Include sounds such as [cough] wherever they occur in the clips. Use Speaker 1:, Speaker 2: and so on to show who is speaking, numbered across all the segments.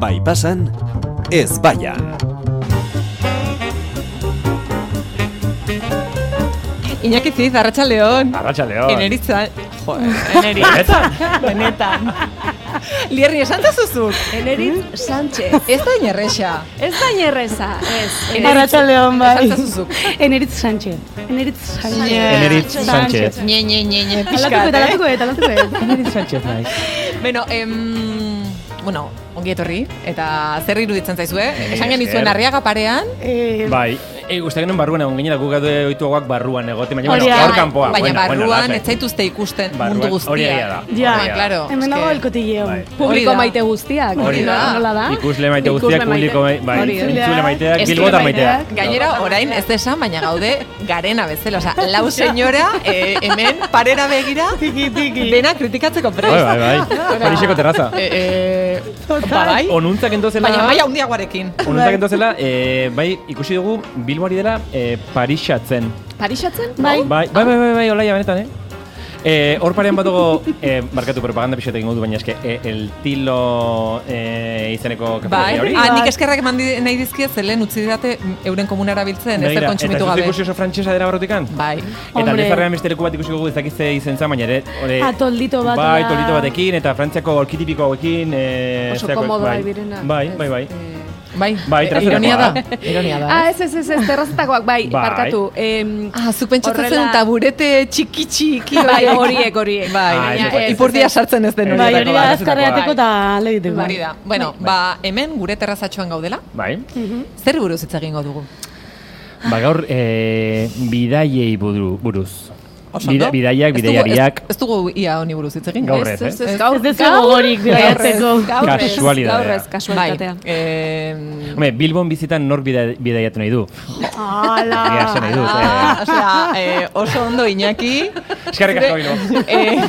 Speaker 1: Bai pasan, ez baian.
Speaker 2: Iñaki Ziz, Arratxaldeon.
Speaker 3: Arratxaleo. [laughs]
Speaker 2: Eneritza. Jo, eneri. [laughs]
Speaker 3: Benetan?
Speaker 2: Benetan. Lierri esan zuzuk.
Speaker 4: Eneritz Sánchez.
Speaker 2: Ez da inerrexa.
Speaker 4: Ez da inerreza, ez.
Speaker 5: Arratxaldeon bai.
Speaker 2: Esan zuzuk.
Speaker 5: [laughs] Eneritz Sánchez. Eneritz Sánchez. eh?
Speaker 3: Eneritz Sánchez.
Speaker 2: Nye, nye, nye, nye. [laughs]
Speaker 4: eh?
Speaker 5: Alatuko eta alatuko eta
Speaker 4: [laughs]
Speaker 5: alatuko eta.
Speaker 3: Eneritz Sánchez naiz.
Speaker 2: Bueno, em, bueno, ongi etorri. Eta zer iruditzen zaizue? Esan
Speaker 3: esker.
Speaker 2: genizuen arriaga parean.
Speaker 5: Eh,
Speaker 3: Bai, e, uste genuen barruan egon ginela guk gatu oituagoak barruan egote, baina bueno,
Speaker 5: Hori da.
Speaker 3: gaur kanpoa.
Speaker 2: Baina
Speaker 3: bueno, bueno,
Speaker 2: barruan,
Speaker 3: lasai.
Speaker 2: ez zaituzte ikusten
Speaker 3: Barruan,
Speaker 2: mundu guztia.
Speaker 3: Hori egia da.
Speaker 5: Ja.
Speaker 3: hori egia da.
Speaker 2: Ah, Claro.
Speaker 5: Hemen dago el cotilleo.
Speaker 3: Bai.
Speaker 2: Hori
Speaker 4: Publiko
Speaker 2: da.
Speaker 4: maite guztiak.
Speaker 2: Hori da.
Speaker 4: Nola da?
Speaker 3: Ikusle maite guztiak,
Speaker 4: Ikusle maite.
Speaker 3: publiko maite, bai,
Speaker 4: Hori da.
Speaker 3: entzule maiteak,
Speaker 2: Entzule
Speaker 3: bilbotar maiteak.
Speaker 5: maiteak.
Speaker 2: Gainera, orain ez da esan, baina gaude garena bezala. Osa, lau senyora, eh, hemen parera begira,
Speaker 5: Tiki, tiki.
Speaker 2: dena kritikatzeko
Speaker 3: Bai,
Speaker 2: prest.
Speaker 3: bai, bai. Parixeko terraza.
Speaker 2: Eh, eh, ba, bai,
Speaker 3: Onuntzak entozela...
Speaker 2: baina bai, maia hundiagoarekin.
Speaker 3: Onuntzak
Speaker 5: Bai.
Speaker 3: entozela, eh, bai, ikusi dugu Bilboari dela eh, Parixatzen.
Speaker 4: Parixatzen?
Speaker 5: Bai.
Speaker 3: Bai, bai, bai, bai, bai, olaia benetan, eh? Eh, hor parean bat dago, eh, barkatu propaganda pixetek ingo du, baina eske, eh, el tilo eh, izeneko
Speaker 2: Bai,
Speaker 3: kafeteria hori.
Speaker 2: ah, nik eskerrak eman di- nahi dizkiet, zelen utzi didate euren komunara biltzen, ez
Speaker 3: Begira,
Speaker 2: kontsumitu
Speaker 3: Eta ez
Speaker 2: gabe.
Speaker 3: dut ikusi oso frantxesa dira barrotikan?
Speaker 2: Bai.
Speaker 3: Eta
Speaker 5: Hombre.
Speaker 3: alde zarrean beste leku bat ikusiko dugu ezakiz ze izen zen, baina ere... ore-
Speaker 5: Ah, toldito bat
Speaker 3: Bai,
Speaker 5: da.
Speaker 3: toldito batekin, eta frantziako olkitipiko hauekin... Eh,
Speaker 4: Oso
Speaker 3: zerako-
Speaker 4: komodoak
Speaker 3: bai.
Speaker 4: direnak.
Speaker 3: Bai, bai, bai.
Speaker 2: Bai,
Speaker 3: Bai,
Speaker 2: eh,
Speaker 3: terrazerakoa.
Speaker 2: ironia da. Ironia da.
Speaker 4: Ah, ez, ez, ez, ez, terrazetakoak, bai,
Speaker 3: Bai.
Speaker 4: parkatu. Em,
Speaker 2: Ah, zuk pentsatzen
Speaker 4: Horrela-
Speaker 2: zen taburete txiki txiki
Speaker 4: bai, horiek, horiek.
Speaker 2: Bai,
Speaker 3: Ah, ez, ez,
Speaker 2: baina
Speaker 3: ez.
Speaker 2: ipurdia sartzen ez den
Speaker 3: Ez,
Speaker 5: Bai,
Speaker 2: horietako
Speaker 5: hori da
Speaker 2: bat.
Speaker 5: azkarreateko eta leiteko.
Speaker 4: Bai.
Speaker 2: Hori da. Bueno, ba, hemen gure terrazatxoan gaudela.
Speaker 3: Bai.
Speaker 2: Zer buruz hitz egingo dugu?
Speaker 3: Ba gaur, eh, bidaiei buru, buruz.
Speaker 2: Oso
Speaker 3: Bida-
Speaker 2: ondo?
Speaker 3: bidaiak,
Speaker 2: Ez dugu-
Speaker 3: bidaiariak.
Speaker 2: Ez, ez dugu ia honi buruz hitz egin.
Speaker 3: Gaur
Speaker 2: Ez.
Speaker 3: ez, eh?
Speaker 5: Gaur ez dago gogorik bidaiatzeko.
Speaker 4: Gaur ez,
Speaker 3: Kasualidadea.
Speaker 4: gaur ez,
Speaker 2: Bai.
Speaker 4: kasualitatea.
Speaker 2: Eh,
Speaker 3: Hombre, Bilbon bizitan nor bida- bidaiatu nahi du. Egia esan
Speaker 5: Ala.
Speaker 3: nahi dut,
Speaker 2: Ah, [laughs]
Speaker 3: eh.
Speaker 2: osea, eh, oso ondo Iñaki.
Speaker 3: Eskerrik asko, Bilbo.
Speaker 2: [laughs] Eh,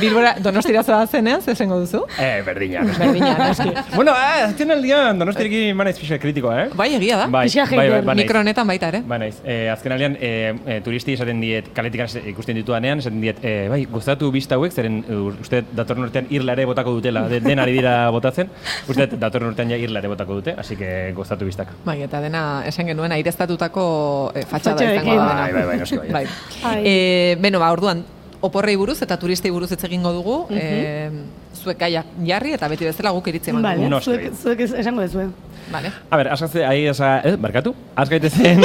Speaker 2: Bilbora, donostira zoa zenean, zesengo duzu?
Speaker 3: Eh, berdina.
Speaker 2: [laughs] Berdina, noski.
Speaker 3: bueno, eh, azken aldian, donostirekin banaiz pixka kritikoa, eh?
Speaker 2: Bai, egia da.
Speaker 3: Bai,
Speaker 5: Pixka
Speaker 3: bai, bai,
Speaker 5: hater.
Speaker 3: banaiz.
Speaker 2: Mikro honetan baita ere.
Speaker 3: Ba, naiz. E, azken aldean, e, e, turisti esaten diet, kaletik hasi- ikusten ditudanean, esaten diet, e, bai, gozatu bista hauek, zeren e, uste dut datorren urtean irla ere botako dutela, de, den ari dira
Speaker 2: [laughs]
Speaker 3: botatzen, uste dut datorren urtean ja irla ere botako dute, hasi que gozatu bistak.
Speaker 2: Bai, eta dena, esan genuen, aireztatutako eh, fatxada
Speaker 5: Fatxadekin.
Speaker 2: izango da. dena.
Speaker 3: Bai, bai, bai, noski bai.
Speaker 2: Bai.
Speaker 5: Ai.
Speaker 2: Eh, beno, ba, orduan, oporrei buruz eta turistei buruz hitz egingo dugu. eh, zuek gaiak jarri eta beti bezala guk iritzi emango
Speaker 5: Vale,
Speaker 2: dugu.
Speaker 3: Noski.
Speaker 5: zuek, zuek ez- esango eh? dezue.
Speaker 2: Vale.
Speaker 3: A ber, askatze, ahi, esa, eh, barkatu? Azkaitezen,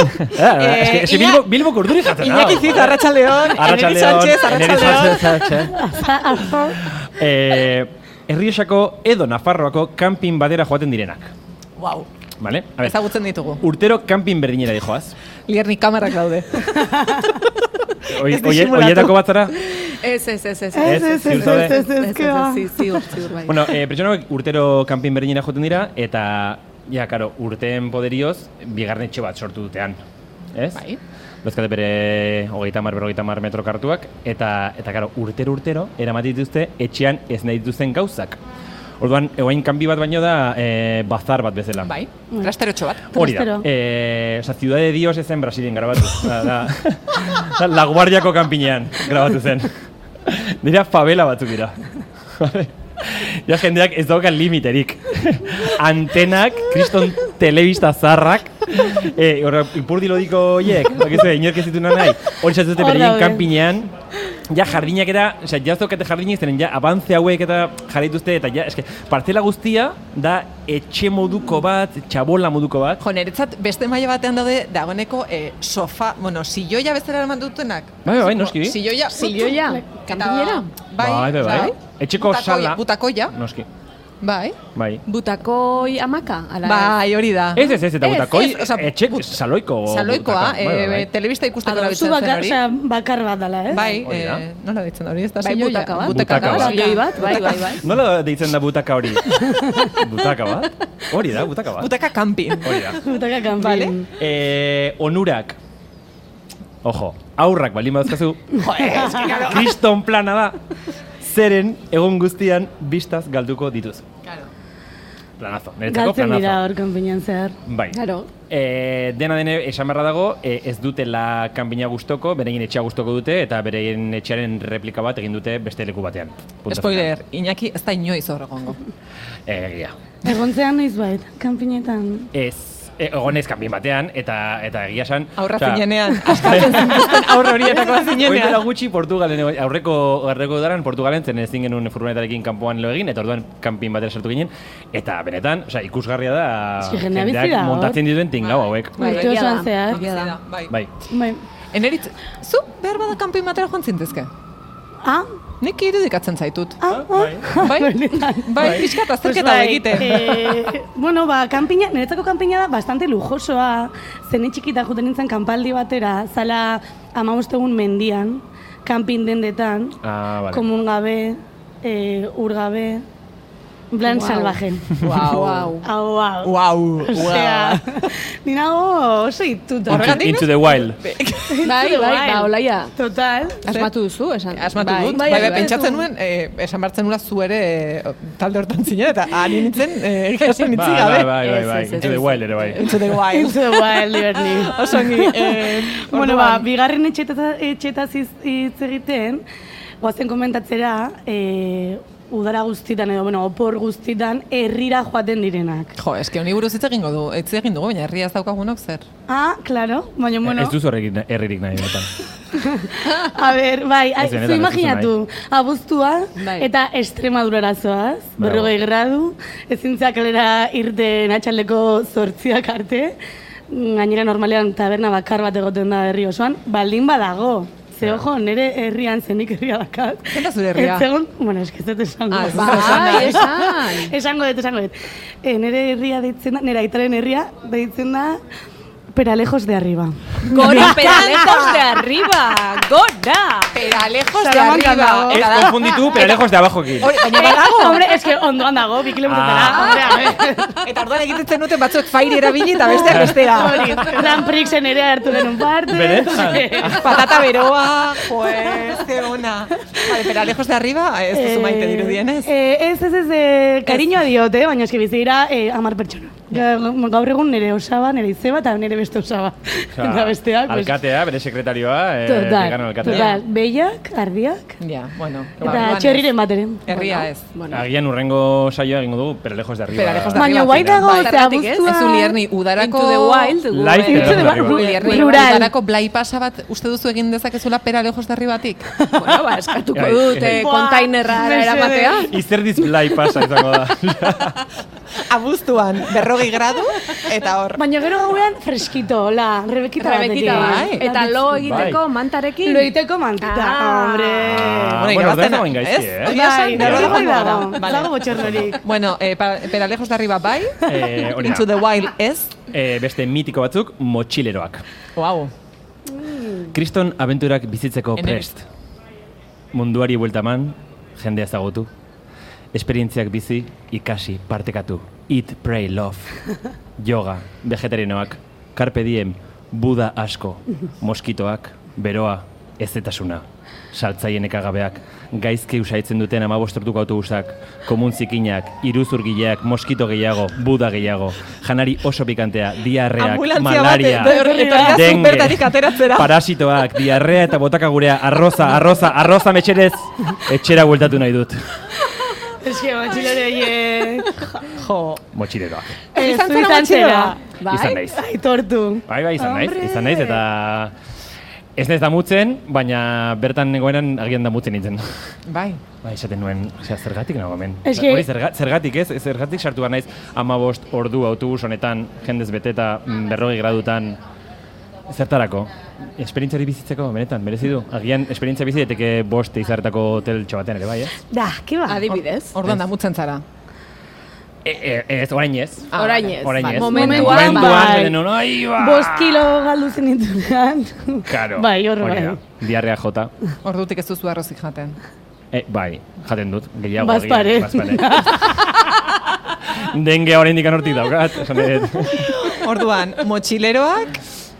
Speaker 2: [laughs]
Speaker 3: ah,
Speaker 2: Eh,
Speaker 3: eske, eske
Speaker 2: Iña-
Speaker 3: Bilbo, Bilbo kurduri jaten da.
Speaker 2: Iñaki Zita, Arratxaldeon, Eneri
Speaker 3: Arratxaldeon,
Speaker 2: Sánchez,
Speaker 3: Eneri
Speaker 2: Arratxaldeon.
Speaker 3: Sánchez.
Speaker 2: [laughs]
Speaker 3: Eh, Errioxako edo Nafarroako kanpin badera joaten direnak.
Speaker 2: Wow.
Speaker 3: Vale? A ber,
Speaker 2: Ezagutzen ditugu.
Speaker 3: urtero kanpin berdinera dijoaz.
Speaker 2: Lierni kamerak daude.
Speaker 3: Oi-
Speaker 5: Ez
Speaker 3: oie-
Speaker 5: disimulatu.
Speaker 3: Oietako bat zara?
Speaker 4: Ez, ez, ez, ez.
Speaker 3: [laughs] Ez, ez, ziur zaude.
Speaker 4: Ez,
Speaker 5: ke ba.
Speaker 4: ez, ez, ziur, ziur, bai.
Speaker 3: Bueno, eh, pertsona hauek urtero kanpin berdinera joten dira, eta, ja, karo, urteen poderioz, bigarren etxe bat sortu dutean. Ez?
Speaker 2: Bai.
Speaker 3: Dauzkate bere hogeita mar, berrogeita mar metro kartuak, eta, eta karo, urtero urtero, eramaten dituzte etxean ez nahi dituzten gauzak. Orduan, egoain kanpi bat baino da, eh, bazar bat bezala.
Speaker 2: Bai. Rasterotxo bat.
Speaker 3: Hori da.
Speaker 5: Trastero.
Speaker 3: Eh, oza, Ciudad de Dios ez zen Brasilien grabatu. da, da, da, La [laughs] Guardiako kanpinean grabatu [laughs] zen. Dira favela batzuk dira. [laughs] Vale. ja jendeak ez daukan [laughs] limiterik. Antenak, kriston telebista zarrak, eh, horra, ipurdi lodiko horiek, bakizue, inork ez ditu nahi, hori zatzute
Speaker 5: Hor
Speaker 3: beraien
Speaker 5: daude.
Speaker 3: kanpinean, ja jardinak eta, osea, ja zaukate jardinak zeren, ja, abantze hauek eta jarraituzte, eta ja, eske, parcela guztia da etxe moduko bat, txabola moduko bat,
Speaker 2: Jo, niretzat beste maila batean daude dagoeneko eh, sofa, bueno, silloia bezala eraman dutenak.
Speaker 3: Bai, bai, noski.
Speaker 2: Silloia.
Speaker 4: Silloia,
Speaker 2: Eta-
Speaker 4: kanpinera?
Speaker 2: Bai,
Speaker 3: Bai, bai, bai. Etxeko
Speaker 2: Butakoia-
Speaker 3: sala.
Speaker 2: Butakoia,
Speaker 3: noski,
Speaker 2: bai.
Speaker 3: bai.
Speaker 4: Butakoi amaka, ala ez?
Speaker 2: Bai, hori da.
Speaker 3: Ez, ez, ez, eta
Speaker 2: Ez,
Speaker 3: butakoi,
Speaker 2: ez, osea,
Speaker 3: etxe,
Speaker 2: but-
Speaker 3: saloiko.
Speaker 2: Saloikoa,
Speaker 3: butaka,
Speaker 2: eh,
Speaker 3: bai, bai, bai.
Speaker 2: telebista ikusteko
Speaker 5: Zu
Speaker 2: erabiltzen zen
Speaker 5: bakar,
Speaker 2: hori.
Speaker 5: osea, bakar bat dala, ez?
Speaker 2: Bai,
Speaker 3: Hori da.
Speaker 2: eh, nola deitzen hori, ez da
Speaker 4: Bai,
Speaker 2: silloia?
Speaker 4: butaka bat.
Speaker 3: Butaka bat.
Speaker 4: Salioi bat, bai, bai, bai.
Speaker 3: Nola deitzen da butaka
Speaker 2: [laughs]
Speaker 3: hori? butaka bat? Hori da, butaka bat.
Speaker 2: Butaka kanpin.
Speaker 3: Hori da.
Speaker 5: Butaka kanpin.
Speaker 2: Vale.
Speaker 3: Eh, onurak. Ojo, aurrak balin baduzkazu. [laughs] Kriston plana da. Zeren egun guztian bistaz galduko dituzu. planazo. Niretzako
Speaker 5: Galtzen
Speaker 3: planazo.
Speaker 5: dira hor kanpinan zehar.
Speaker 3: Bai.
Speaker 4: Claro.
Speaker 3: E, dena dene, esan beharra dago, e, ez dutela kanpina gustoko, bereien etxea gustoko dute, eta bereien etxearen replika bat egin dute beste leku batean. Punto
Speaker 2: Spoiler, Iñaki ez da inoiz hor
Speaker 3: [laughs]
Speaker 2: egongo.
Speaker 3: final. E, egia.
Speaker 5: Egontzean noiz bait, kanpinetan.
Speaker 3: Ez, e, egonez kanpin batean, eta, eta egia esan...
Speaker 2: Aurra
Speaker 3: osea,
Speaker 2: zinenean,
Speaker 3: [laughs]
Speaker 2: askatzen zintuzten aurre horietako
Speaker 3: Hori dela
Speaker 2: zinenean.
Speaker 3: gutxi Portugalen, egon- aurreko, aurreko udaran Portugalen zen ezin genuen furgonetarekin kanpoan lo egin, eta orduan kanpin batera sartu ginen, eta benetan, osea, ikusgarria da
Speaker 5: Eske jendea bizi da hor.
Speaker 3: montatzen dituen tingau hauek.
Speaker 4: Bai,
Speaker 5: Urte
Speaker 4: egia da.
Speaker 5: osoan zehar.
Speaker 2: Bizi da, Bai.
Speaker 3: Bai.
Speaker 5: Bai.
Speaker 2: Eneritz, zu behar bada kanpin batera joan zintezke.
Speaker 5: Ah,
Speaker 2: Nik irudikatzen zaitut.
Speaker 5: ah, ah.
Speaker 2: Bai, bai, pixkat azterketa
Speaker 5: Pues bai,
Speaker 2: egiten.
Speaker 5: eh, bueno, ba, kanpina, niretzako kanpina da bastante lujosoa. Zene txikita juten nintzen kanpaldi batera, zala amabostegun mendian, kanpin dendetan,
Speaker 3: Ah, vale.
Speaker 5: komun gabe, eh, ur gabe, en plan
Speaker 4: Guau. [laughs]
Speaker 5: salvajen.
Speaker 2: Wow.
Speaker 4: Wow.
Speaker 5: Hau, hau.
Speaker 2: Wow.
Speaker 5: Osea, ni nago oso ituta.
Speaker 3: Into, into the wild.
Speaker 4: Bai, bai, ba, olaia.
Speaker 5: Total.
Speaker 4: Asmatu duzu, esan.
Speaker 2: Asmatu
Speaker 4: Bai.
Speaker 2: dut,
Speaker 5: bai,
Speaker 2: bai, bai,
Speaker 5: bai,
Speaker 2: pentsatzen
Speaker 5: bai.
Speaker 2: nuen, eh, esan bartzen nula zu ere eh, talde hortan zinen, eta ari nintzen, [laughs] eh, egia esan
Speaker 3: Bai,
Speaker 2: nitzi
Speaker 3: bai,
Speaker 2: gabe.
Speaker 3: bai, bai,
Speaker 4: Ez,
Speaker 3: bai.
Speaker 4: ez, ez,
Speaker 3: Into the
Speaker 4: ez.
Speaker 3: wild ere
Speaker 5: Eh,
Speaker 3: bai.
Speaker 2: Into the [laughs] wild.
Speaker 5: Into the wild, Liberty.
Speaker 2: [laughs] Oso ongi. Eh,
Speaker 5: [laughs] Bueno, ba,
Speaker 2: orduan,
Speaker 5: bigarren etxetaz, etxetaz iz- hitz egiten, guazen komentatzera, e, udara guztitan edo, bueno, opor guztitan, herrira joaten direnak.
Speaker 2: Jo, eske honi buruz hitz egingo du, hitz egin dugu, baina herria ez daukagunok zer.
Speaker 5: Ah, claro, baina, bueno,
Speaker 3: Eh, Ez duzu horrekin herririk nahi
Speaker 5: [laughs]
Speaker 3: betan.
Speaker 5: a ber, bai, ai,
Speaker 3: Ez benetan,
Speaker 5: zu
Speaker 3: ez
Speaker 5: imaginatu, abuztua
Speaker 4: Bai.
Speaker 5: eta estremadurara zoaz,
Speaker 3: Bravo.
Speaker 5: berrogei gradu, ezin zeakalera irten atxaldeko zortziak arte, gainera normalean taberna bakar bat egoten da herri osoan, baldin badago. Ze ojo, nire herrian zenik herria dakat.
Speaker 2: Zein da zure herria?
Speaker 5: Ez zegoen- bueno, eske ez dut esango.
Speaker 2: Ah, ez dut
Speaker 4: Bai,
Speaker 5: [laughs]
Speaker 4: esan.
Speaker 5: esango dut, esango dut. E, nire herria deitzen da, nire aitaren herria deitzen da, Peralejos de arriba.
Speaker 4: Gora, peralejos de arriba. Gora. eh,
Speaker 2: Pera, lejos
Speaker 5: de Salamanca arriba. dago.
Speaker 3: Ez konfunditu, pero lejos de abajo ekin.
Speaker 2: Hori, baina
Speaker 5: badago. Hombre, eske ondoan dago, bi kilometrotara.
Speaker 3: Ah.
Speaker 5: hombre, a ver.
Speaker 2: Eta orduan egiten duten batzuek fairi erabili eta besteak bestera.
Speaker 5: Hori, Grand Prixen ere hartu genuen parte.
Speaker 3: Benetan?
Speaker 2: Patata beroa, pues, ze ona. Vale, pera, lejos de arriba, ez duzu maite dirudienez.
Speaker 5: Eh, ez, ez, ez, eh, kariñoa diot, eh, baina eski bizi dira eh, amar pertsona. Gaur, gaur egun nire osaba, nire izeba eta nire beste osaba.
Speaker 3: Osea,
Speaker 5: Eta besteak, pues,
Speaker 3: Alkatea, bere sekretarioa, eh, vegan
Speaker 5: total,
Speaker 3: alkatea.
Speaker 5: total, behiak, ardiak,
Speaker 2: Ja, bueno.
Speaker 5: eta txerriren bateren.
Speaker 2: Herria ez.
Speaker 4: Bueno,
Speaker 3: Agian urrengo saioa egingo dugu, pero lejos de arriba.
Speaker 2: Pero lejos de
Speaker 5: Baina
Speaker 2: arriba,
Speaker 5: guai
Speaker 2: tira.
Speaker 5: dago,
Speaker 2: Bai,
Speaker 5: ze
Speaker 4: zergatik ez?
Speaker 5: abuztua...
Speaker 2: Ez ulierni, udarako...
Speaker 4: Into the wild. gu,
Speaker 3: Live,
Speaker 4: eh,
Speaker 3: pero lejos de
Speaker 5: Into the
Speaker 3: arriba.
Speaker 5: wild.
Speaker 2: Ulierni,
Speaker 5: Rural.
Speaker 2: Udarako blai pasa bat, uste duzu egin dezakezula pera lejos de arribatik?
Speaker 4: Bueno, ba, eskatuko
Speaker 3: Bai.
Speaker 4: dut, eh,
Speaker 5: Buah,
Speaker 4: kontainerra
Speaker 5: mesedez.
Speaker 4: eramatea.
Speaker 3: Izerdiz blai pasa izango [laughs] da.
Speaker 2: [laughs] Abuztuan, berrogei gradu, eta hor.
Speaker 5: Baina gero gauean freskito, hola, rebekita
Speaker 4: Rebekita
Speaker 5: batetik.
Speaker 4: bai. Eta lo
Speaker 3: Bai.
Speaker 4: egiteko mantarekin.
Speaker 5: Lo egiteko mantita,
Speaker 4: Ah.
Speaker 5: hombre.
Speaker 3: Ah, bueno, ez da zegoen gaizki, eh?
Speaker 2: Egia
Speaker 5: Bai,
Speaker 2: esan,
Speaker 5: bai,
Speaker 2: berrogei
Speaker 5: bai,
Speaker 2: joango
Speaker 5: dago,
Speaker 2: gara. Vale.
Speaker 5: dago botxerrorik.
Speaker 2: Bueno, eh, pa- pera lejos de arriba bai,
Speaker 3: Eh, hori da.
Speaker 2: into the wild ez.
Speaker 3: Eh, beste mitiko batzuk, motxileroak.
Speaker 2: Wow.
Speaker 3: Kriston abenturak bizitzeko
Speaker 2: Ene.
Speaker 3: prest. Munduari bueltaman, jendea ezagutu. Esperientziak bizi, ikasi, partekatu. Eat,
Speaker 2: [laughs]
Speaker 3: pray, love. Yoga, vegetarianoak, carpe diem, buda asko, moskitoak, beroa, ezetasuna. Saltzaien ekagabeak, gaizki usaitzen duten amabostortuko autobusak, komun zikinak, iruzurgileak, moskito gehiago, buda gehiago, janari oso pikantea, diarreak,
Speaker 2: Ambulantzia bat,
Speaker 3: malaria,
Speaker 2: edo etorri da zu
Speaker 3: dengue,
Speaker 2: bertatik ateratzera.
Speaker 3: Parasitoak, diarrea eta botaka gurea, arroza, arroza, arroza metxerez, etxera bueltatu nahi dut.
Speaker 5: Es que motxilore horiek.
Speaker 2: Jo.
Speaker 3: Motxileroak.
Speaker 5: Ez,
Speaker 2: Izan
Speaker 5: zu
Speaker 2: zara
Speaker 5: izan zera.
Speaker 2: motxilora?
Speaker 4: Bai.
Speaker 3: Izan naiz.
Speaker 5: Aitortu.
Speaker 3: Bai, bai, izan naiz,
Speaker 5: Hombre.
Speaker 3: izan naiz, eta... Ez naiz damutzen, baina bertan egoeran agian damutzen nintzen.
Speaker 2: Bai.
Speaker 3: Bai, esaten nuen, osea, zergatik nago hemen.
Speaker 5: Ez que-
Speaker 3: Hori, zerga- zergatik ez, zergatik sartu behar naiz amabost ordu autobus honetan, jendez beteta, mm, berrogei gradutan, zertarako. Esperientziari bizitzeko, benetan, merezi du. Agian, esperientzia bizi daiteke bost izartako hoteltxo batean ere, bai, ez?
Speaker 5: Da, ke ba.
Speaker 4: Adibidez.
Speaker 2: Orduan damutzen zara.
Speaker 3: E, e, ez, orain ez.
Speaker 2: Ah,
Speaker 4: Orain
Speaker 2: vale.
Speaker 4: ez.
Speaker 3: Orain
Speaker 4: Bai.
Speaker 3: ez.
Speaker 5: Momentuan, bai.
Speaker 3: bai. Denon, ai, ba!
Speaker 5: Bost kilo galdu zen ditunean.
Speaker 3: Claro.
Speaker 5: Bai, hor
Speaker 3: Hori
Speaker 5: bai.
Speaker 3: da. Diarrea jota.
Speaker 2: Ordutik ez duzu arrozik jaten.
Speaker 3: E, bai, jaten dut. Gehiago.
Speaker 5: Bazpare.
Speaker 3: agian,
Speaker 5: [laughs]
Speaker 3: bazpare. Dengea orain dikan hortik daukat. esan dut.
Speaker 2: Bai. Orduan, motxileroak...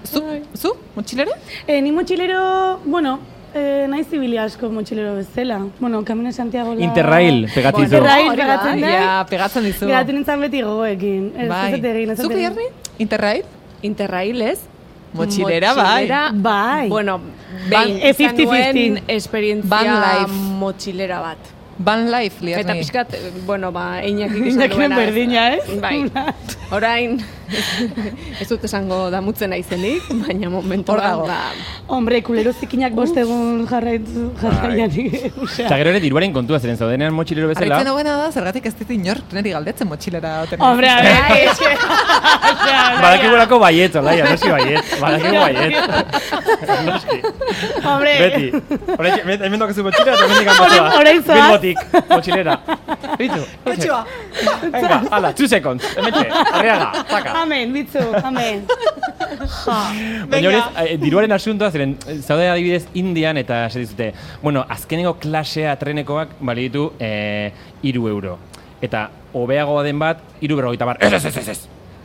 Speaker 2: Zu? Zu? Motxilero?
Speaker 5: Eh, ni motxilero, bueno, eh, naiz zibili asko motxilero bezala. Bueno, Kamino Santiago la...
Speaker 3: Interrail, pegatizu.
Speaker 5: Bueno, Interrail
Speaker 2: Hori da,
Speaker 5: pegatzen da.
Speaker 2: Ja, Ah, pegatzen dizu.
Speaker 5: Geratzen nintzen beti gogoekin. Ez
Speaker 2: Bai.
Speaker 5: ez dut egin, ez dut
Speaker 2: Zuk
Speaker 5: egin.
Speaker 2: jarri? Interrail?
Speaker 4: Interrail ez?
Speaker 2: Motxilera, bai.
Speaker 4: Motxilera,
Speaker 5: Bai.
Speaker 4: Bueno,
Speaker 5: Ban-
Speaker 4: behin,
Speaker 5: eh,
Speaker 4: izan
Speaker 5: 50-50.
Speaker 4: nuen esperientzia
Speaker 2: Van life.
Speaker 4: motxilera bat.
Speaker 2: Van life, liarni.
Speaker 4: Eta pixkat, eh, bueno, ba, Iñakik esan
Speaker 5: Inakiren
Speaker 4: duena,
Speaker 5: berdina, ez?
Speaker 2: eh?
Speaker 4: Bai. Orain, [laughs] ez dut esango damutzen aizenik, baina momentu
Speaker 2: Hor dago.
Speaker 4: Ba,
Speaker 5: Hombre, kulero zikinak bostegun jarraitu jarraian.
Speaker 3: Eta gero ere diruaren kontua zeren zaudenean motxilero bezala.
Speaker 2: Arritzen hobena da, zergatik ez dit inor niri galdetzen motxilera. oten.
Speaker 5: Hombre, a ver.
Speaker 4: Ai, eske,
Speaker 3: Badakigulako baietz, olaia, noski baietz. Badakigu baietz.
Speaker 5: [laughs] Hombre.
Speaker 3: Beti. Horaitxe, met- Hemen dokazu motxila eta hemen ikan batua.
Speaker 5: Orain zoaz.
Speaker 3: Bilbotik, motxilera. Bitu.
Speaker 2: Kotxoa.
Speaker 3: Venga, ala, two seconds. Hemetxe, arriaga, taka.
Speaker 5: Amen, bitzu, amen.
Speaker 3: Baina hori, ez, eh, diruaren asuntoa, zeren, eh, zaude adibidez Indian eta zer dizute, bueno, azkenengo klasea trenekoak bali ditu eh, iru euro. Eta hobeagoa den bat, iru berrogeita bar, ez, ez, ez, ez, ez,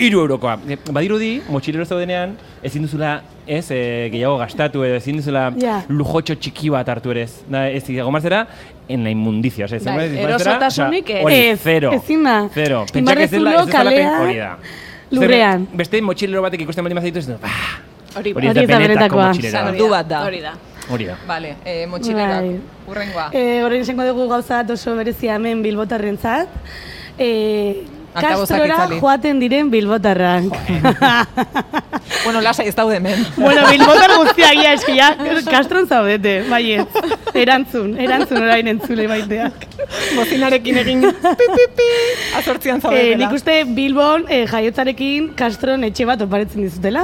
Speaker 3: iru eurokoa. Eh, Badirudi, motxilero zaudenean, ezin duzula, ez, eh, gehiago gastatu edo, ezin duzula
Speaker 5: Ja.
Speaker 3: lujotxo txiki bat hartu ere ez. Da, ez, gomarzera, en la inmundicia, ez,
Speaker 4: Bai,
Speaker 3: gomarzera, osea,
Speaker 4: erosotasunik ez.
Speaker 3: hori,
Speaker 5: Ez,
Speaker 3: zero.
Speaker 5: ezin da.
Speaker 3: Zero.
Speaker 5: Egin
Speaker 3: Pentsak ez dela, ez
Speaker 5: barrezulo,
Speaker 3: dezala pen-
Speaker 5: kalea,
Speaker 3: hori da. Zer,
Speaker 5: lurrean.
Speaker 3: Beste motxilero batek ikusten baldin bazitu, ez du, bah,
Speaker 4: Hori
Speaker 3: Hori
Speaker 4: bai.
Speaker 3: ez da
Speaker 5: Hori ez da
Speaker 3: benetako
Speaker 5: benetakoa.
Speaker 3: motxilera.
Speaker 2: Sardu bat da.
Speaker 4: Hori da.
Speaker 3: Hori da.
Speaker 2: Vale, eh, motxilera.
Speaker 5: Bai.
Speaker 2: Urrengoa.
Speaker 5: E, Horrein esango dugu gauza bat oso berezia hemen bilbotarrentzat. E,
Speaker 2: Akabozak
Speaker 5: Kastrora
Speaker 2: itzali.
Speaker 5: joaten diren bilbotarrak.
Speaker 2: Bueno, lasai ez daude hemen.
Speaker 5: [laughs] bueno, bilbotar guztiak ia eski, ja, kastron zaudete, bai ez. Erantzun, erantzun orain entzule baiteak.
Speaker 2: Bozinarekin egin pi, pi, pi. [laughs] Azortzian zaudetela.
Speaker 5: E, nik uste Bilbon eh, jaiotzarekin kastron etxe bat oparetzen dizutela.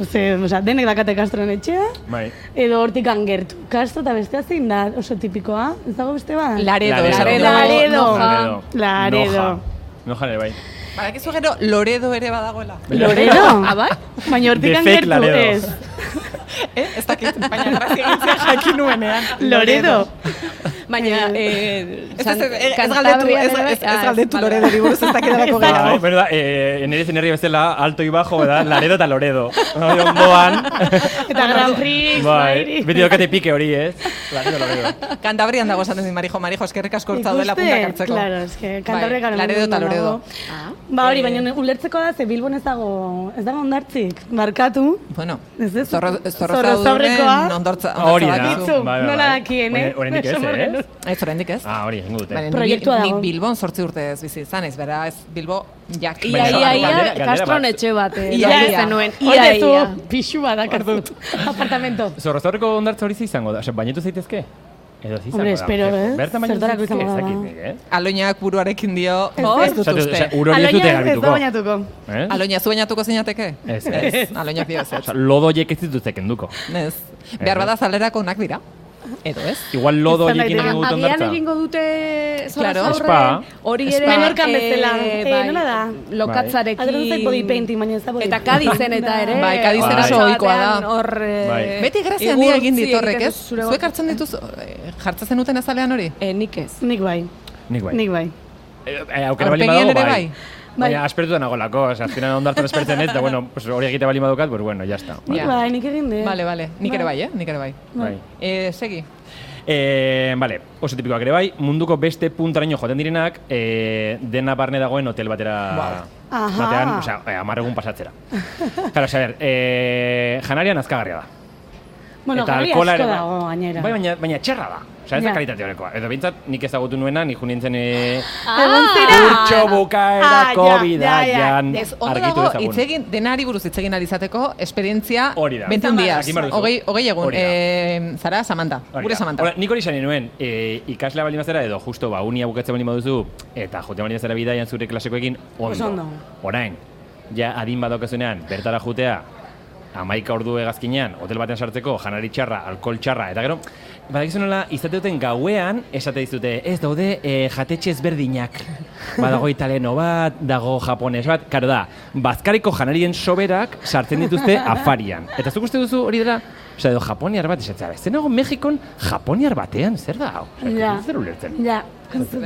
Speaker 5: Ose, osea, denek dakate kastron etxea.
Speaker 3: Bai.
Speaker 5: Edo hortik angertu. Kastro eta bestea zein da oso tipikoa. Ez dago beste bat?
Speaker 2: Laredo.
Speaker 3: Laredo.
Speaker 5: Laredo.
Speaker 2: Noja.
Speaker 5: Noja. Laredo.
Speaker 3: Noja. Noja ere bai.
Speaker 2: Badakizu gero Loredo ere badagoela.
Speaker 5: Lorero.
Speaker 4: Ah, bai?
Speaker 5: Baina hortik
Speaker 3: De fake
Speaker 5: angertu
Speaker 3: Laredo.
Speaker 5: ez.
Speaker 2: Eh? Ez dakit, baina
Speaker 5: [laughs]
Speaker 2: grazia gintzen jakin nuenean.
Speaker 5: Loredo.
Speaker 4: Baina, eh,
Speaker 2: Ez, ez,
Speaker 4: San-
Speaker 2: ez, ez galdetu,
Speaker 4: Cantabria
Speaker 2: ez,
Speaker 4: ere bai-
Speaker 2: ez,
Speaker 4: Ah,
Speaker 2: ez galdetu
Speaker 4: bale,
Speaker 2: Loredori buruz ez
Speaker 5: [laughs]
Speaker 2: dakidalako
Speaker 3: Bai,
Speaker 2: gehiago.
Speaker 3: bueno, da, eh, nire zen herri bezala, alto y bajo, da, Laredo eta Loredo. Hori ondoan.
Speaker 5: Eta Grand Prix.
Speaker 3: bai,
Speaker 5: Bai.
Speaker 3: beti dokate pike hori, ez? Laredo, Loredo.
Speaker 2: Kantabrian dago esaten dit, Marijo, Marijo, eskerrik asko hortza duela
Speaker 5: Ikuste,
Speaker 2: puntak hartzeko.
Speaker 5: Claro, es que kantabrek
Speaker 2: Bai, Laredo eta Loredo.
Speaker 4: Ah.
Speaker 5: Ba hori,
Speaker 2: Eh.
Speaker 5: baina ulertzeko da, ze Bilbon ez dago, ez dago ondartzik. Barkatu.
Speaker 2: Bueno,
Speaker 5: Ez ez?
Speaker 2: zorro, zorro
Speaker 5: Zorrozaurekoa.
Speaker 2: zaudurren ondortza.
Speaker 3: Hori da.
Speaker 2: ondortza
Speaker 5: Bitzu,
Speaker 2: bakizu.
Speaker 3: Bai, bai,
Speaker 5: nola
Speaker 3: bai.
Speaker 5: dakien, eh?
Speaker 3: Baina oraindik ez,
Speaker 5: Beso
Speaker 3: eh?
Speaker 5: morrenuz.
Speaker 2: Ez, oraindik ez.
Speaker 3: Ah, hori, egingo dute.
Speaker 2: Baina ni-
Speaker 5: Proiektua
Speaker 2: ni
Speaker 5: dago.
Speaker 2: Bilbon sortzi urte ez bizi izan, ez bera ez Bilbo jak.
Speaker 4: Ia, ia,
Speaker 3: Galdera-
Speaker 4: ia,
Speaker 3: galdera
Speaker 4: kastron
Speaker 3: bat.
Speaker 4: etxe bat. eh,
Speaker 2: Ia,
Speaker 4: lan
Speaker 2: ia.
Speaker 4: zenuen.
Speaker 5: Hor
Speaker 4: Ia,
Speaker 5: dezu,
Speaker 4: ia.
Speaker 5: pixu badakazu. Apartamento.
Speaker 3: Zorroztaurreko ondartza hori ze izango da, Osea, bainetu zaitezke? Edo ze izango da.
Speaker 5: Hombre, espero, eh?
Speaker 3: Bertan bainetu
Speaker 5: Zertarako
Speaker 3: zaitezke,
Speaker 5: izango da,
Speaker 3: ezakit
Speaker 5: ba.
Speaker 3: nik, eh?
Speaker 2: Aloinak buruarekin dio, ez dut
Speaker 3: Osea,
Speaker 2: uste.
Speaker 3: osea, uro hori ez dute
Speaker 5: Aloina ez da
Speaker 3: garbituko.
Speaker 5: bainatuko.
Speaker 3: Eh?
Speaker 2: Aloina, zu bainatuko zinateke?
Speaker 3: Ez, ez.
Speaker 2: Aloinak dio ez.
Speaker 3: Osea, Lodo horiek ez dituzte kenduko.
Speaker 2: Ez. Behar bada zalerako onak dira. Edo ez?
Speaker 3: Igual lodo
Speaker 5: Izan
Speaker 3: horiekin
Speaker 5: daiteke.
Speaker 3: egingo dut
Speaker 4: Agian
Speaker 3: ondartza.
Speaker 4: egingo dute
Speaker 2: Claro.
Speaker 4: zorra
Speaker 3: Spa.
Speaker 4: Hori
Speaker 5: Spa.
Speaker 4: ere...
Speaker 5: Menorkan
Speaker 4: eh,
Speaker 5: bezala. Eh,
Speaker 4: bai,
Speaker 5: nola da?
Speaker 4: Lokatzarekin...
Speaker 5: Ateratzen zait body painting, baina ez da body
Speaker 4: Eta
Speaker 5: painting.
Speaker 4: Kadizen eta ere...
Speaker 2: Bai, Kadizen
Speaker 3: Bai. oso
Speaker 2: ohikoa da.
Speaker 4: batean Hor... eh,
Speaker 3: Bai.
Speaker 2: Beti grazia handia egin
Speaker 4: igurtzi
Speaker 2: dit horrek,
Speaker 4: egiten
Speaker 2: ez?
Speaker 4: duzu zure
Speaker 2: Zuek hartzen dituz, eh, jartzen zenuten azalean hori?
Speaker 4: Eh, nik ez.
Speaker 5: Nik bai,
Speaker 3: Nik bai.
Speaker 5: nik bai.
Speaker 3: Eh, eh, aukera bali
Speaker 2: Aurpegian
Speaker 3: badago,
Speaker 2: ere
Speaker 3: bai.
Speaker 2: bai.
Speaker 5: Bai.
Speaker 3: Baina aspertuta nagolako, oza, azkenan ondartzen aspertzen ez, da, bueno, pues, hori egite bali badukat, pues, bueno, ya está.
Speaker 5: Nik
Speaker 2: Ja.
Speaker 5: bai, nik egin dut.
Speaker 2: Bale, bale. Nik ere bai, eh? Nik ere bai.
Speaker 3: Bai.
Speaker 2: Eh, segi.
Speaker 3: Eh, vale, oso tipikoak ere bai, munduko beste puntaraino joaten direnak, eh, dena barne dagoen hotel batera
Speaker 5: Aha.
Speaker 3: batean, osea, eh, hamar egun pasatzera. Claro, osea, a ver, eh, janarian azkagarria da.
Speaker 5: Bueno,
Speaker 3: Eta
Speaker 5: jarri
Speaker 3: alkohola
Speaker 5: asko
Speaker 3: ere bai.
Speaker 5: dago, gainera.
Speaker 3: Bai, baina, baina txerra da. Osea, ez da
Speaker 5: Ja.
Speaker 3: kalitate honekoa. Edo bintzat, nik ezagutu nuena, ni junintzen eh,
Speaker 5: Egon zira.
Speaker 3: urtxo
Speaker 5: Ah,
Speaker 3: bukaerako
Speaker 5: ja, ja, ja.
Speaker 3: bidaian
Speaker 2: Ez, ondo
Speaker 3: Mm, argitu
Speaker 2: dago,
Speaker 3: dezagun.
Speaker 2: hitz egin, denari buruz hitz egin alizateko, esperientzia
Speaker 3: Hori da.
Speaker 2: 21 diaz,
Speaker 3: Jakin behar duzu.
Speaker 2: hogei, hogei egun.
Speaker 3: Hori da.
Speaker 2: Eh, zara, Samantha,
Speaker 3: Hori
Speaker 2: gure
Speaker 3: da.
Speaker 2: Samantha.
Speaker 3: Ora, nik hori izan nuen, e, ikaslea baldin bazara edo justo ba, unia bukatzen baldin baduzu, eta joten baldin bazara bidaian zure klasekoekin, ondo.
Speaker 5: Oso ondo.
Speaker 3: Orain, ja adin badaukazunean, bertara jutea, amaika ordu egazkinean, hotel batean sartzeko, janari txarra, alkohol txarra, eta gero, badakizu nola, izate duten gauean, esate dizute, ez daude e, jatetxe ezberdinak. Badago italiano bat, dago japones bat, karo da, bazkariko janarien soberak sartzen dituzte afarian. Eta zuk uste duzu hori dela, Osa, edo japoniar bat esatzea, ez nago Mexikon japoniar batean, zer da hau? Osea,
Speaker 5: Ja.
Speaker 3: ez dut ulertzen.
Speaker 5: Ja.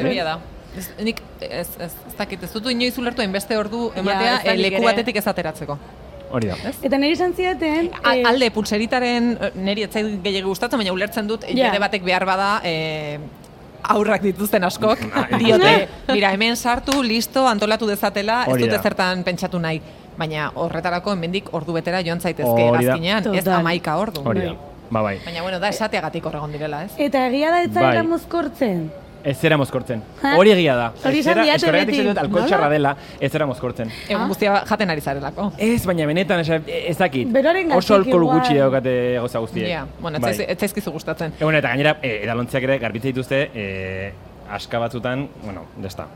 Speaker 2: Egia da. Ez, nik ez, ez, ez dakit, ez dutu inoiz ulertu hainbeste ordu ematea
Speaker 4: ez dakit
Speaker 2: eh, leku
Speaker 4: ere.
Speaker 2: batetik ez ateratzeko.
Speaker 3: Hori da.
Speaker 5: Eta nire izan ziaten...
Speaker 2: A-
Speaker 5: eh,
Speaker 2: Alde, pulseritaren eh, neri etzai gehiago gustatzen, baina ulertzen dut
Speaker 5: Ja.
Speaker 2: jende batek behar bada eh, aurrak dituzten
Speaker 3: [laughs]
Speaker 2: askok diote, mira, hemen sartu, listo, antolatu dezatela, ez
Speaker 3: Hori
Speaker 2: dute
Speaker 3: da.
Speaker 2: zertan pentsatu nahi. Baina horretarako hemendik ordu betera joan zaitezke
Speaker 3: Hori da.
Speaker 2: bazkinean, ez
Speaker 5: Total.
Speaker 2: amaika ordu.
Speaker 3: Hori da. Ba, bai.
Speaker 2: Baina, bueno, da esateagatik horregon direla, ez?
Speaker 5: Eta egia da ez zarela
Speaker 3: Bai.
Speaker 5: mozkortzen.
Speaker 3: Ez zera mozkortzen.
Speaker 5: Ha?
Speaker 3: Hori egia da.
Speaker 5: Hori esan diate beti.
Speaker 3: beti. Alkohol
Speaker 5: Nola?
Speaker 3: txarra dela, ez zera mozkortzen.
Speaker 2: Egun guztia jaten ari zarelako.
Speaker 3: Ez, baina benetan esa, ez dakit.
Speaker 5: Beroarengatik
Speaker 3: Oso alkohol
Speaker 5: igual.
Speaker 3: gutxi daukate goza guztiek.
Speaker 2: Ja, bueno, ez
Speaker 3: Bai.
Speaker 2: zaiz- ez zaizkizu gustatzen.
Speaker 3: E, bueno, eta gainera, e, edalontziak ere garbitze dituzte, e, aska batzutan, bueno, desta.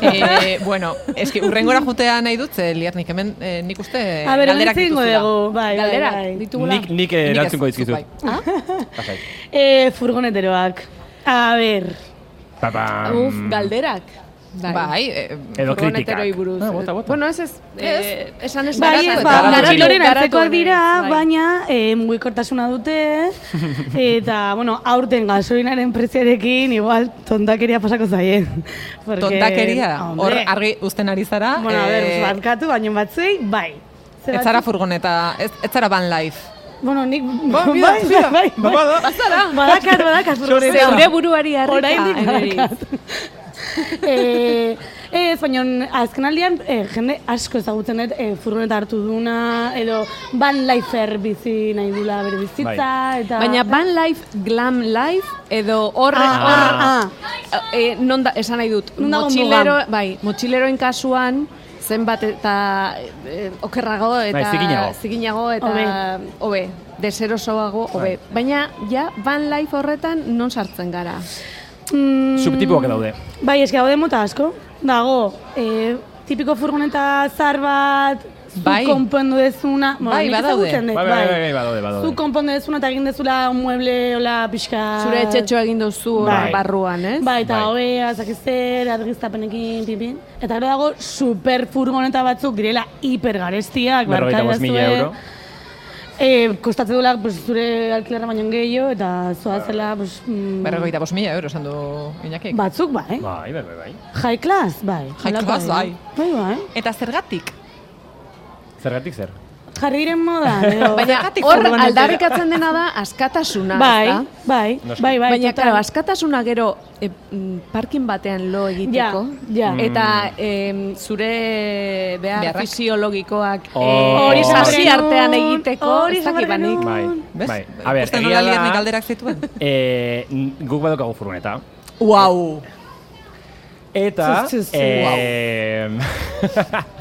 Speaker 2: eh, bueno, eski urrengora jutea nahi dut, ze liat nik hemen eh, nik uste eh,
Speaker 5: A ber,
Speaker 2: galderak
Speaker 5: hori egingo
Speaker 2: dituzula.
Speaker 5: dugu, bai, bai,
Speaker 4: Galderak
Speaker 5: bai.
Speaker 4: ditugula.
Speaker 3: Nik, nik
Speaker 2: Nik ez,
Speaker 3: erantzunko
Speaker 2: zuk
Speaker 3: dizkizut.
Speaker 2: bai.
Speaker 5: Ah?
Speaker 3: [laughs] Bai.
Speaker 5: E, furgoneteroak. A ber,
Speaker 3: Pa, pam.
Speaker 4: Uf, galderak.
Speaker 2: Bai, eh,
Speaker 3: mm, Edo
Speaker 4: furgoneteroi
Speaker 3: kritikak.
Speaker 4: buruz.
Speaker 3: Ah, bota, bota.
Speaker 4: Bueno, ez ez.
Speaker 2: Ez.
Speaker 4: eh, Esan ez
Speaker 5: bai, ez,
Speaker 4: garatu-
Speaker 5: ba,
Speaker 3: Garatu
Speaker 4: garatu-
Speaker 5: garatuaren
Speaker 4: garatu
Speaker 5: antzekoak
Speaker 4: ere,
Speaker 5: dira,
Speaker 4: bai.
Speaker 5: baina e, mugikortasuna dute, eh, eta, [laughs] bueno, aurten gasolinaren preziarekin, igual, tontakeria pasako zaie. [laughs] Porque-
Speaker 2: tontakeria,
Speaker 5: Hombre.
Speaker 2: hor argi uzten ari zara.
Speaker 5: Bueno, a ber,
Speaker 2: eh,
Speaker 5: barkatu, baino batzei, bai. Ze
Speaker 2: ez zara
Speaker 5: batzuk-
Speaker 2: furgoneta, ez, ez zara van life.
Speaker 5: Bueno, nik... [laughs]
Speaker 3: Ba,
Speaker 5: bai,
Speaker 3: mira,
Speaker 5: bai,
Speaker 3: mira,
Speaker 5: bai, bai.
Speaker 2: [laughs]
Speaker 5: Badakat, badakat, furgoneta.
Speaker 4: Zeure buruari
Speaker 5: Oraindik
Speaker 4: harrika. Eneri.
Speaker 5: eh, ez, baina azkenaldian eh, jende asko ezagutzen dut eh, furgoneta hartu duna, edo van lifer bizi nahi dula bere bizitza,
Speaker 3: Bai.
Speaker 5: eta...
Speaker 4: Baina van life, glam life, edo hor,
Speaker 5: Ah,
Speaker 4: hor,
Speaker 5: ah,
Speaker 4: Eh, non da, esan nahi dut,
Speaker 5: Non dago
Speaker 4: motxilero,
Speaker 5: mugan?
Speaker 4: bai, motxileroen kasuan, zenbat eta eh, okerrago eta
Speaker 3: Bai, zikinago.
Speaker 4: zikinago
Speaker 5: Hobe.
Speaker 4: eta hobe, deserosoago hobe. Baina ja van life horretan non sartzen gara.
Speaker 5: mm,
Speaker 3: Subtipoak daude.
Speaker 5: Bai, eski daude mota asko. Dago, eh, tipiko furgoneta zar bat, zu
Speaker 2: Bai.
Speaker 5: konpondu dezuna,
Speaker 2: Bai,
Speaker 5: nik
Speaker 2: badaude.
Speaker 5: ezagutzen dut,
Speaker 3: Bai, bai, bai, bai, badaude, badaude.
Speaker 5: Zu konpondu dezuna eta egin dezula un mueble, hola, pixka...
Speaker 4: Zure etxetxoa egin duzu hor
Speaker 5: Bai.
Speaker 4: barruan, ez?
Speaker 5: Bai, eta
Speaker 3: Bai.
Speaker 5: hobea, zakizzer, argiztapenekin, pinpin. Eta gero dago, super furgoneta batzuk direla hipergarestiak,
Speaker 3: Berrogeita bost mila
Speaker 5: barkadazue.
Speaker 3: euro.
Speaker 5: Eh, kostatzen dula, pues, zure alkilerra baino gehiago, eta zoazela, pues, mm,
Speaker 2: Berregoita bos mila euro esan du Iñakik.
Speaker 5: batzuk, bai.
Speaker 3: Bai, bai, bai, bai.
Speaker 5: High class, bai.
Speaker 2: High
Speaker 5: Hola,
Speaker 2: class,
Speaker 5: Bai, bai.
Speaker 2: Eta zergatik?
Speaker 3: Zergatik zer?
Speaker 5: Jarri diren moda, eh, edo.
Speaker 4: Baina
Speaker 2: Zergatik
Speaker 4: hor
Speaker 2: furgonetera?
Speaker 4: aldarrikatzen dena da askatasuna,
Speaker 5: bai,
Speaker 4: ezta?
Speaker 5: bai,
Speaker 3: Noski.
Speaker 5: bai, bai.
Speaker 4: Baina,
Speaker 5: total.
Speaker 4: claro, askatasuna gero e, mm, parkin batean lo egiteko.
Speaker 3: Mm.
Speaker 5: Ja, ja.
Speaker 4: Eta em, zure behar
Speaker 2: Beharrak.
Speaker 4: fisiologikoak
Speaker 3: Oh.
Speaker 4: eh,
Speaker 3: Hori esan
Speaker 4: sasi
Speaker 5: behar genuen,
Speaker 4: artean egiteko,
Speaker 5: hori
Speaker 4: ez
Speaker 5: esan
Speaker 4: dakit
Speaker 5: behar
Speaker 4: banik.
Speaker 5: genuen.
Speaker 3: Bai,
Speaker 2: Bez?
Speaker 3: bai. A ber,
Speaker 2: Ikusten
Speaker 3: egia
Speaker 2: nola liat nik
Speaker 3: da,
Speaker 2: alderak zituen?
Speaker 3: e, guk badaukagu furgoneta.
Speaker 2: [laughs] Wow.
Speaker 3: Eta,
Speaker 2: Zu, zu, zu.
Speaker 3: eh,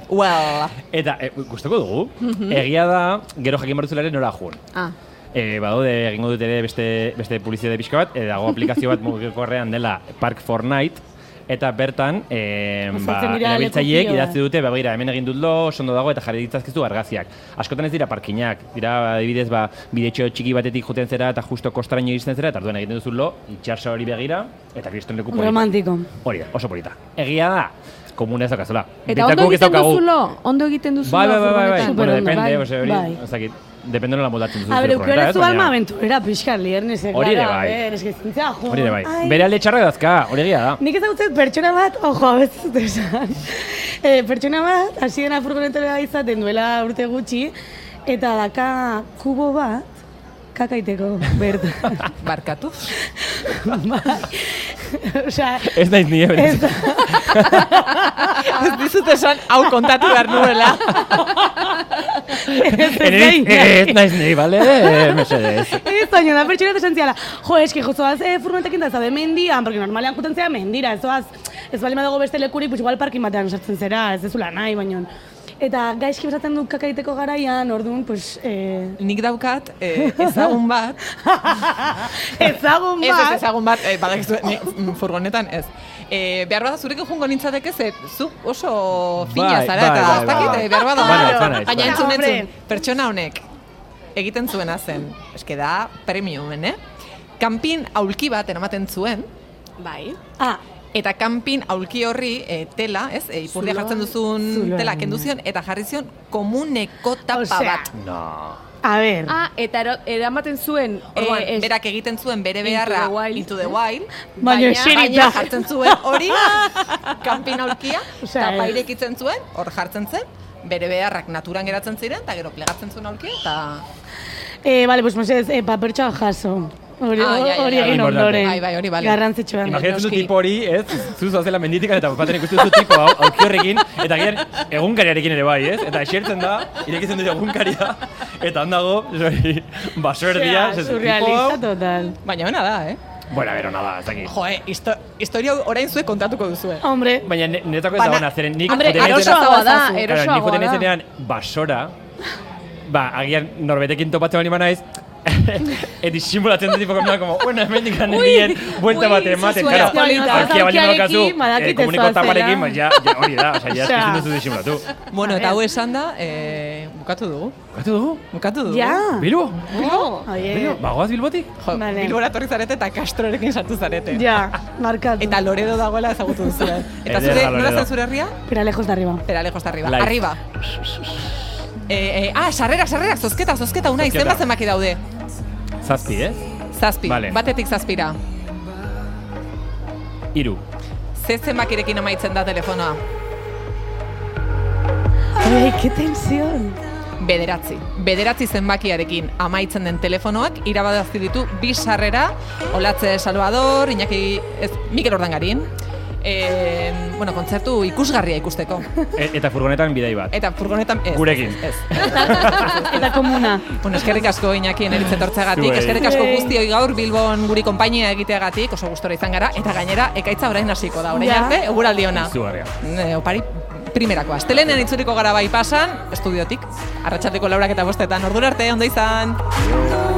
Speaker 2: Well.
Speaker 3: [laughs] Eta, e, gustoko dugu,
Speaker 5: Mhm.
Speaker 3: egia da, gero jakin behar duzula ere nora joan.
Speaker 4: Ah,
Speaker 3: E, badaude, egingo dut ere beste, beste publizitate pixka bat, e, dago aplikazio
Speaker 5: [laughs]
Speaker 3: bat mugikorrean dela Park Fortnite, eta bertan, e,
Speaker 5: Azaltzen
Speaker 3: ba,
Speaker 5: dira
Speaker 3: erabiltzaileek
Speaker 5: leku pilo
Speaker 3: idatzi dute, ba, begira, hemen egin dut lo, oso ondo dago, eta jarri ditzazkizu argaziak. Askotan ez dira parkinak, dira, adibidez, ba, bidetxo txiki batetik joten zera, eta justo kostaraino iristen zera, eta arduan egiten duzu lo, itxarsa hori begira, eta kriston leku polita.
Speaker 5: Romantiko.
Speaker 3: Hori da, oso polita. Egia da, komuna ez daukazula.
Speaker 4: eta
Speaker 3: Bitartekoak
Speaker 4: ondo
Speaker 3: ez
Speaker 4: egiten
Speaker 3: daukagu.
Speaker 4: duzu lo, ondo egiten duzu
Speaker 3: Bai,
Speaker 4: lo
Speaker 3: bai, bai, bai, bai.
Speaker 4: furgonetan.
Speaker 3: Bueno,
Speaker 5: Superondo,
Speaker 3: depende,
Speaker 5: bai,
Speaker 3: ose, hori,
Speaker 5: bai.
Speaker 3: ez dakit, depende nola moldatzen duzu.
Speaker 5: A ber,
Speaker 3: zure furgoneta,
Speaker 5: eukiorez
Speaker 3: ez,
Speaker 5: zu alma
Speaker 3: Bai, baina-
Speaker 5: aventurera pixka, liernez, eh,
Speaker 3: Hori ere
Speaker 5: gara,
Speaker 3: bai.
Speaker 5: a ber, eski zintzea, jo.
Speaker 3: Hori ere bai.
Speaker 5: ai.
Speaker 3: Bere alde txarra dazka, hori egia da.
Speaker 5: Nik ezagutzen pertsona bat, ojo, abetzut esan. E, pertsona bat, hasi dena furgonetara izaten duela urte gutxi, eta daka kubo bat, kakaiteko bertan.
Speaker 2: [laughs] Barkatu.
Speaker 5: Bai. [laughs] Osea,
Speaker 3: Ez naiz eh, nire benetan.
Speaker 2: ez dizut esan hau kontatu behar nuela.
Speaker 5: ez ez
Speaker 3: Eneri-
Speaker 5: nahi.
Speaker 3: Ez naiz nire, bale? Eh, Mesedez.
Speaker 5: Ez, baina da pertsona esan ziala, jo, eski, jo, zoaz e, furgonetekin da zaude mendian, porque normalean juten zea mendira, ez zoaz, ez bali dago beste lekurik, pues igual parkin batean sartzen zera, ez dezula nahi, baina. Eta gaizki besatzen dut kakaiteko garaian, orduan, pues, eh,
Speaker 2: [laughs] Nik daukat eh, ezagun bat.
Speaker 5: ezagun
Speaker 2: Ez, ez
Speaker 5: bat.
Speaker 2: ezagun bat, eh, badakizu, ni, mm, furgonetan ez. Eh, behar bada zurekin jungo nintzateke ze zu oso fina
Speaker 3: Bai,
Speaker 2: zara
Speaker 3: bai,
Speaker 2: eta
Speaker 3: bai,
Speaker 2: ez dakit,
Speaker 3: bai.
Speaker 2: eh, behar bada.
Speaker 3: Banaiz, banaiz,
Speaker 2: Baina
Speaker 3: banaiz.
Speaker 2: entzun, entzun,
Speaker 5: Hombre.
Speaker 2: pertsona honek egiten zuena zen, eske da premiumen, eh? Kampin aulki bat eramaten zuen,
Speaker 4: Bai.
Speaker 5: Ah,
Speaker 2: Eta kanpin aulki horri eh, tela, ez? E, ipurdia
Speaker 4: Zuloa.
Speaker 2: jartzen duzun
Speaker 5: Zuloa.
Speaker 2: tela kendu zion eta jarri zion komuneko tapa
Speaker 5: Osea.
Speaker 2: bat.
Speaker 3: No.
Speaker 5: A ber,
Speaker 4: Ah, eta ero, eramaten zuen...
Speaker 2: Orduan,
Speaker 4: eh, es-
Speaker 2: berak egiten zuen bere
Speaker 4: Into
Speaker 2: beharra
Speaker 4: the wild.
Speaker 2: into the wild,
Speaker 5: [laughs] Baina eserita.
Speaker 2: baina jartzen zuen
Speaker 5: [laughs]
Speaker 2: hori, kanpin aulkia,
Speaker 5: Osea,
Speaker 2: tapa
Speaker 5: ez.
Speaker 2: irekitzen zuen, hor jartzen zen, bere beharrak naturan geratzen ziren, eta gero plegatzen zuen aulkia, eta...
Speaker 5: eh, bale, pues mesedez, eh, papertxoa jaso. Hori
Speaker 2: Ah, ja, ja,
Speaker 5: hori
Speaker 2: ja.
Speaker 5: egin
Speaker 3: Importante.
Speaker 5: ondoren.
Speaker 2: Bai, bai, hori bale.
Speaker 5: Garrantzitsua.
Speaker 3: Imaginatzen du
Speaker 2: noski.
Speaker 3: tipo hori, ez? Zuz zela menditikan eta papaten ikusten du tipo hau, auki horrekin, eta gian egunkariarekin ere bai, ez? Eta esertzen da, irekitzen dut egunkaria, eta handago, [laughs] hori, baso erdia,
Speaker 5: Osea,
Speaker 3: ez, tipo
Speaker 5: surrealista
Speaker 3: hau.
Speaker 5: total.
Speaker 2: Baina hona da, eh?
Speaker 3: Bueno, bero, nada, ez dakit.
Speaker 2: Jo, eh, histo historia hau orain zuek kontatuko duzue.
Speaker 5: [laughs] Hombre,
Speaker 3: Baina ne- netako ez
Speaker 2: Bana-
Speaker 3: dagoena, zeren nik...
Speaker 2: Hombre,
Speaker 3: joaten naizenean-
Speaker 2: erosoagoa da,
Speaker 3: Claro, Nik
Speaker 4: erosoagoa
Speaker 3: joaten
Speaker 4: da.
Speaker 3: naizenean basora, ba, agian norbetekin topatzen bali banaiz, [laughs] eta disimulatzen dut tipo kamera, como, bueno, hemen dikan nien, buelta
Speaker 2: ui,
Speaker 3: bat ematen,
Speaker 2: zuzue,
Speaker 3: karo,
Speaker 5: polita.
Speaker 3: aurkia bali bakazu,
Speaker 5: Aurkiarekin, badakit
Speaker 3: komuniko
Speaker 5: ez zoazela.
Speaker 3: taparekin, ba, ja, ja, hori da, osea, ja,
Speaker 5: Osea.
Speaker 3: ezin duzu disimulatu.
Speaker 2: Bueno, eta hau esan da, eh, bukatu dugu.
Speaker 3: Batu dugu?
Speaker 2: Bukatu dugu.
Speaker 5: ja.
Speaker 3: Bilbo?
Speaker 4: Bilbo?
Speaker 5: Oie,
Speaker 3: Bilbo? Bagoaz Bilbotik?
Speaker 2: Jo,
Speaker 5: Vale.
Speaker 2: Bilbora etorri zarete eta Kastrorekin sartu zarete.
Speaker 5: ja, markatu.
Speaker 2: Eta Loredo dagoela ezagutu duzue. Eta
Speaker 3: Ederra,
Speaker 2: zure, nola
Speaker 3: Loredo.
Speaker 2: zen zure herria?
Speaker 5: Pero lejos de arriba.
Speaker 2: Espera, lejos de arriba.
Speaker 3: Live.
Speaker 2: Arriba. Eh, eh, ah, sarrera, sarrera, zozketa, zozketa, unai,
Speaker 3: Zozketa.
Speaker 2: zenbat zenbaki daude?
Speaker 3: Zazpi, eh? ez?
Speaker 2: Zazpi,
Speaker 3: Vale.
Speaker 2: batetik zazpira.
Speaker 3: Iru.
Speaker 2: Ze zenbakirekin amaitzen da telefonoa?
Speaker 5: Ay, qué tensión.
Speaker 2: Bederatzi. Bederatzi zenbakiarekin amaitzen den telefonoak irabadazi ditu bi sarrera, Olatze Salvador, Iñaki, ez, Mikel Ordangarin, eh, bueno, kontzertu ikusgarria ikusteko.
Speaker 3: E- eta furgonetan bidai bat.
Speaker 2: Eta furgonetan ez.
Speaker 3: Gurekin.
Speaker 2: Ez.
Speaker 5: Eta comuna.
Speaker 2: Bueno, eskerrik asko Iñaki eneritz etortzeagatik,
Speaker 3: Zuei.
Speaker 2: eskerrik asko
Speaker 5: Zuei.
Speaker 2: guztioi gaur Bilbon guri konpainia egiteagatik, oso gustora izan gara eta gainera ekaitza orain hasiko da. Orain
Speaker 5: Ja.
Speaker 2: arte eguraldi ona.
Speaker 3: Izugarria.
Speaker 2: Ne, opari primerako. Astelenean itzuliko gara bai pasan, estudiotik, arratsaldeko laurak eta bostetan. Ordura arte, ondo izan.
Speaker 6: Thank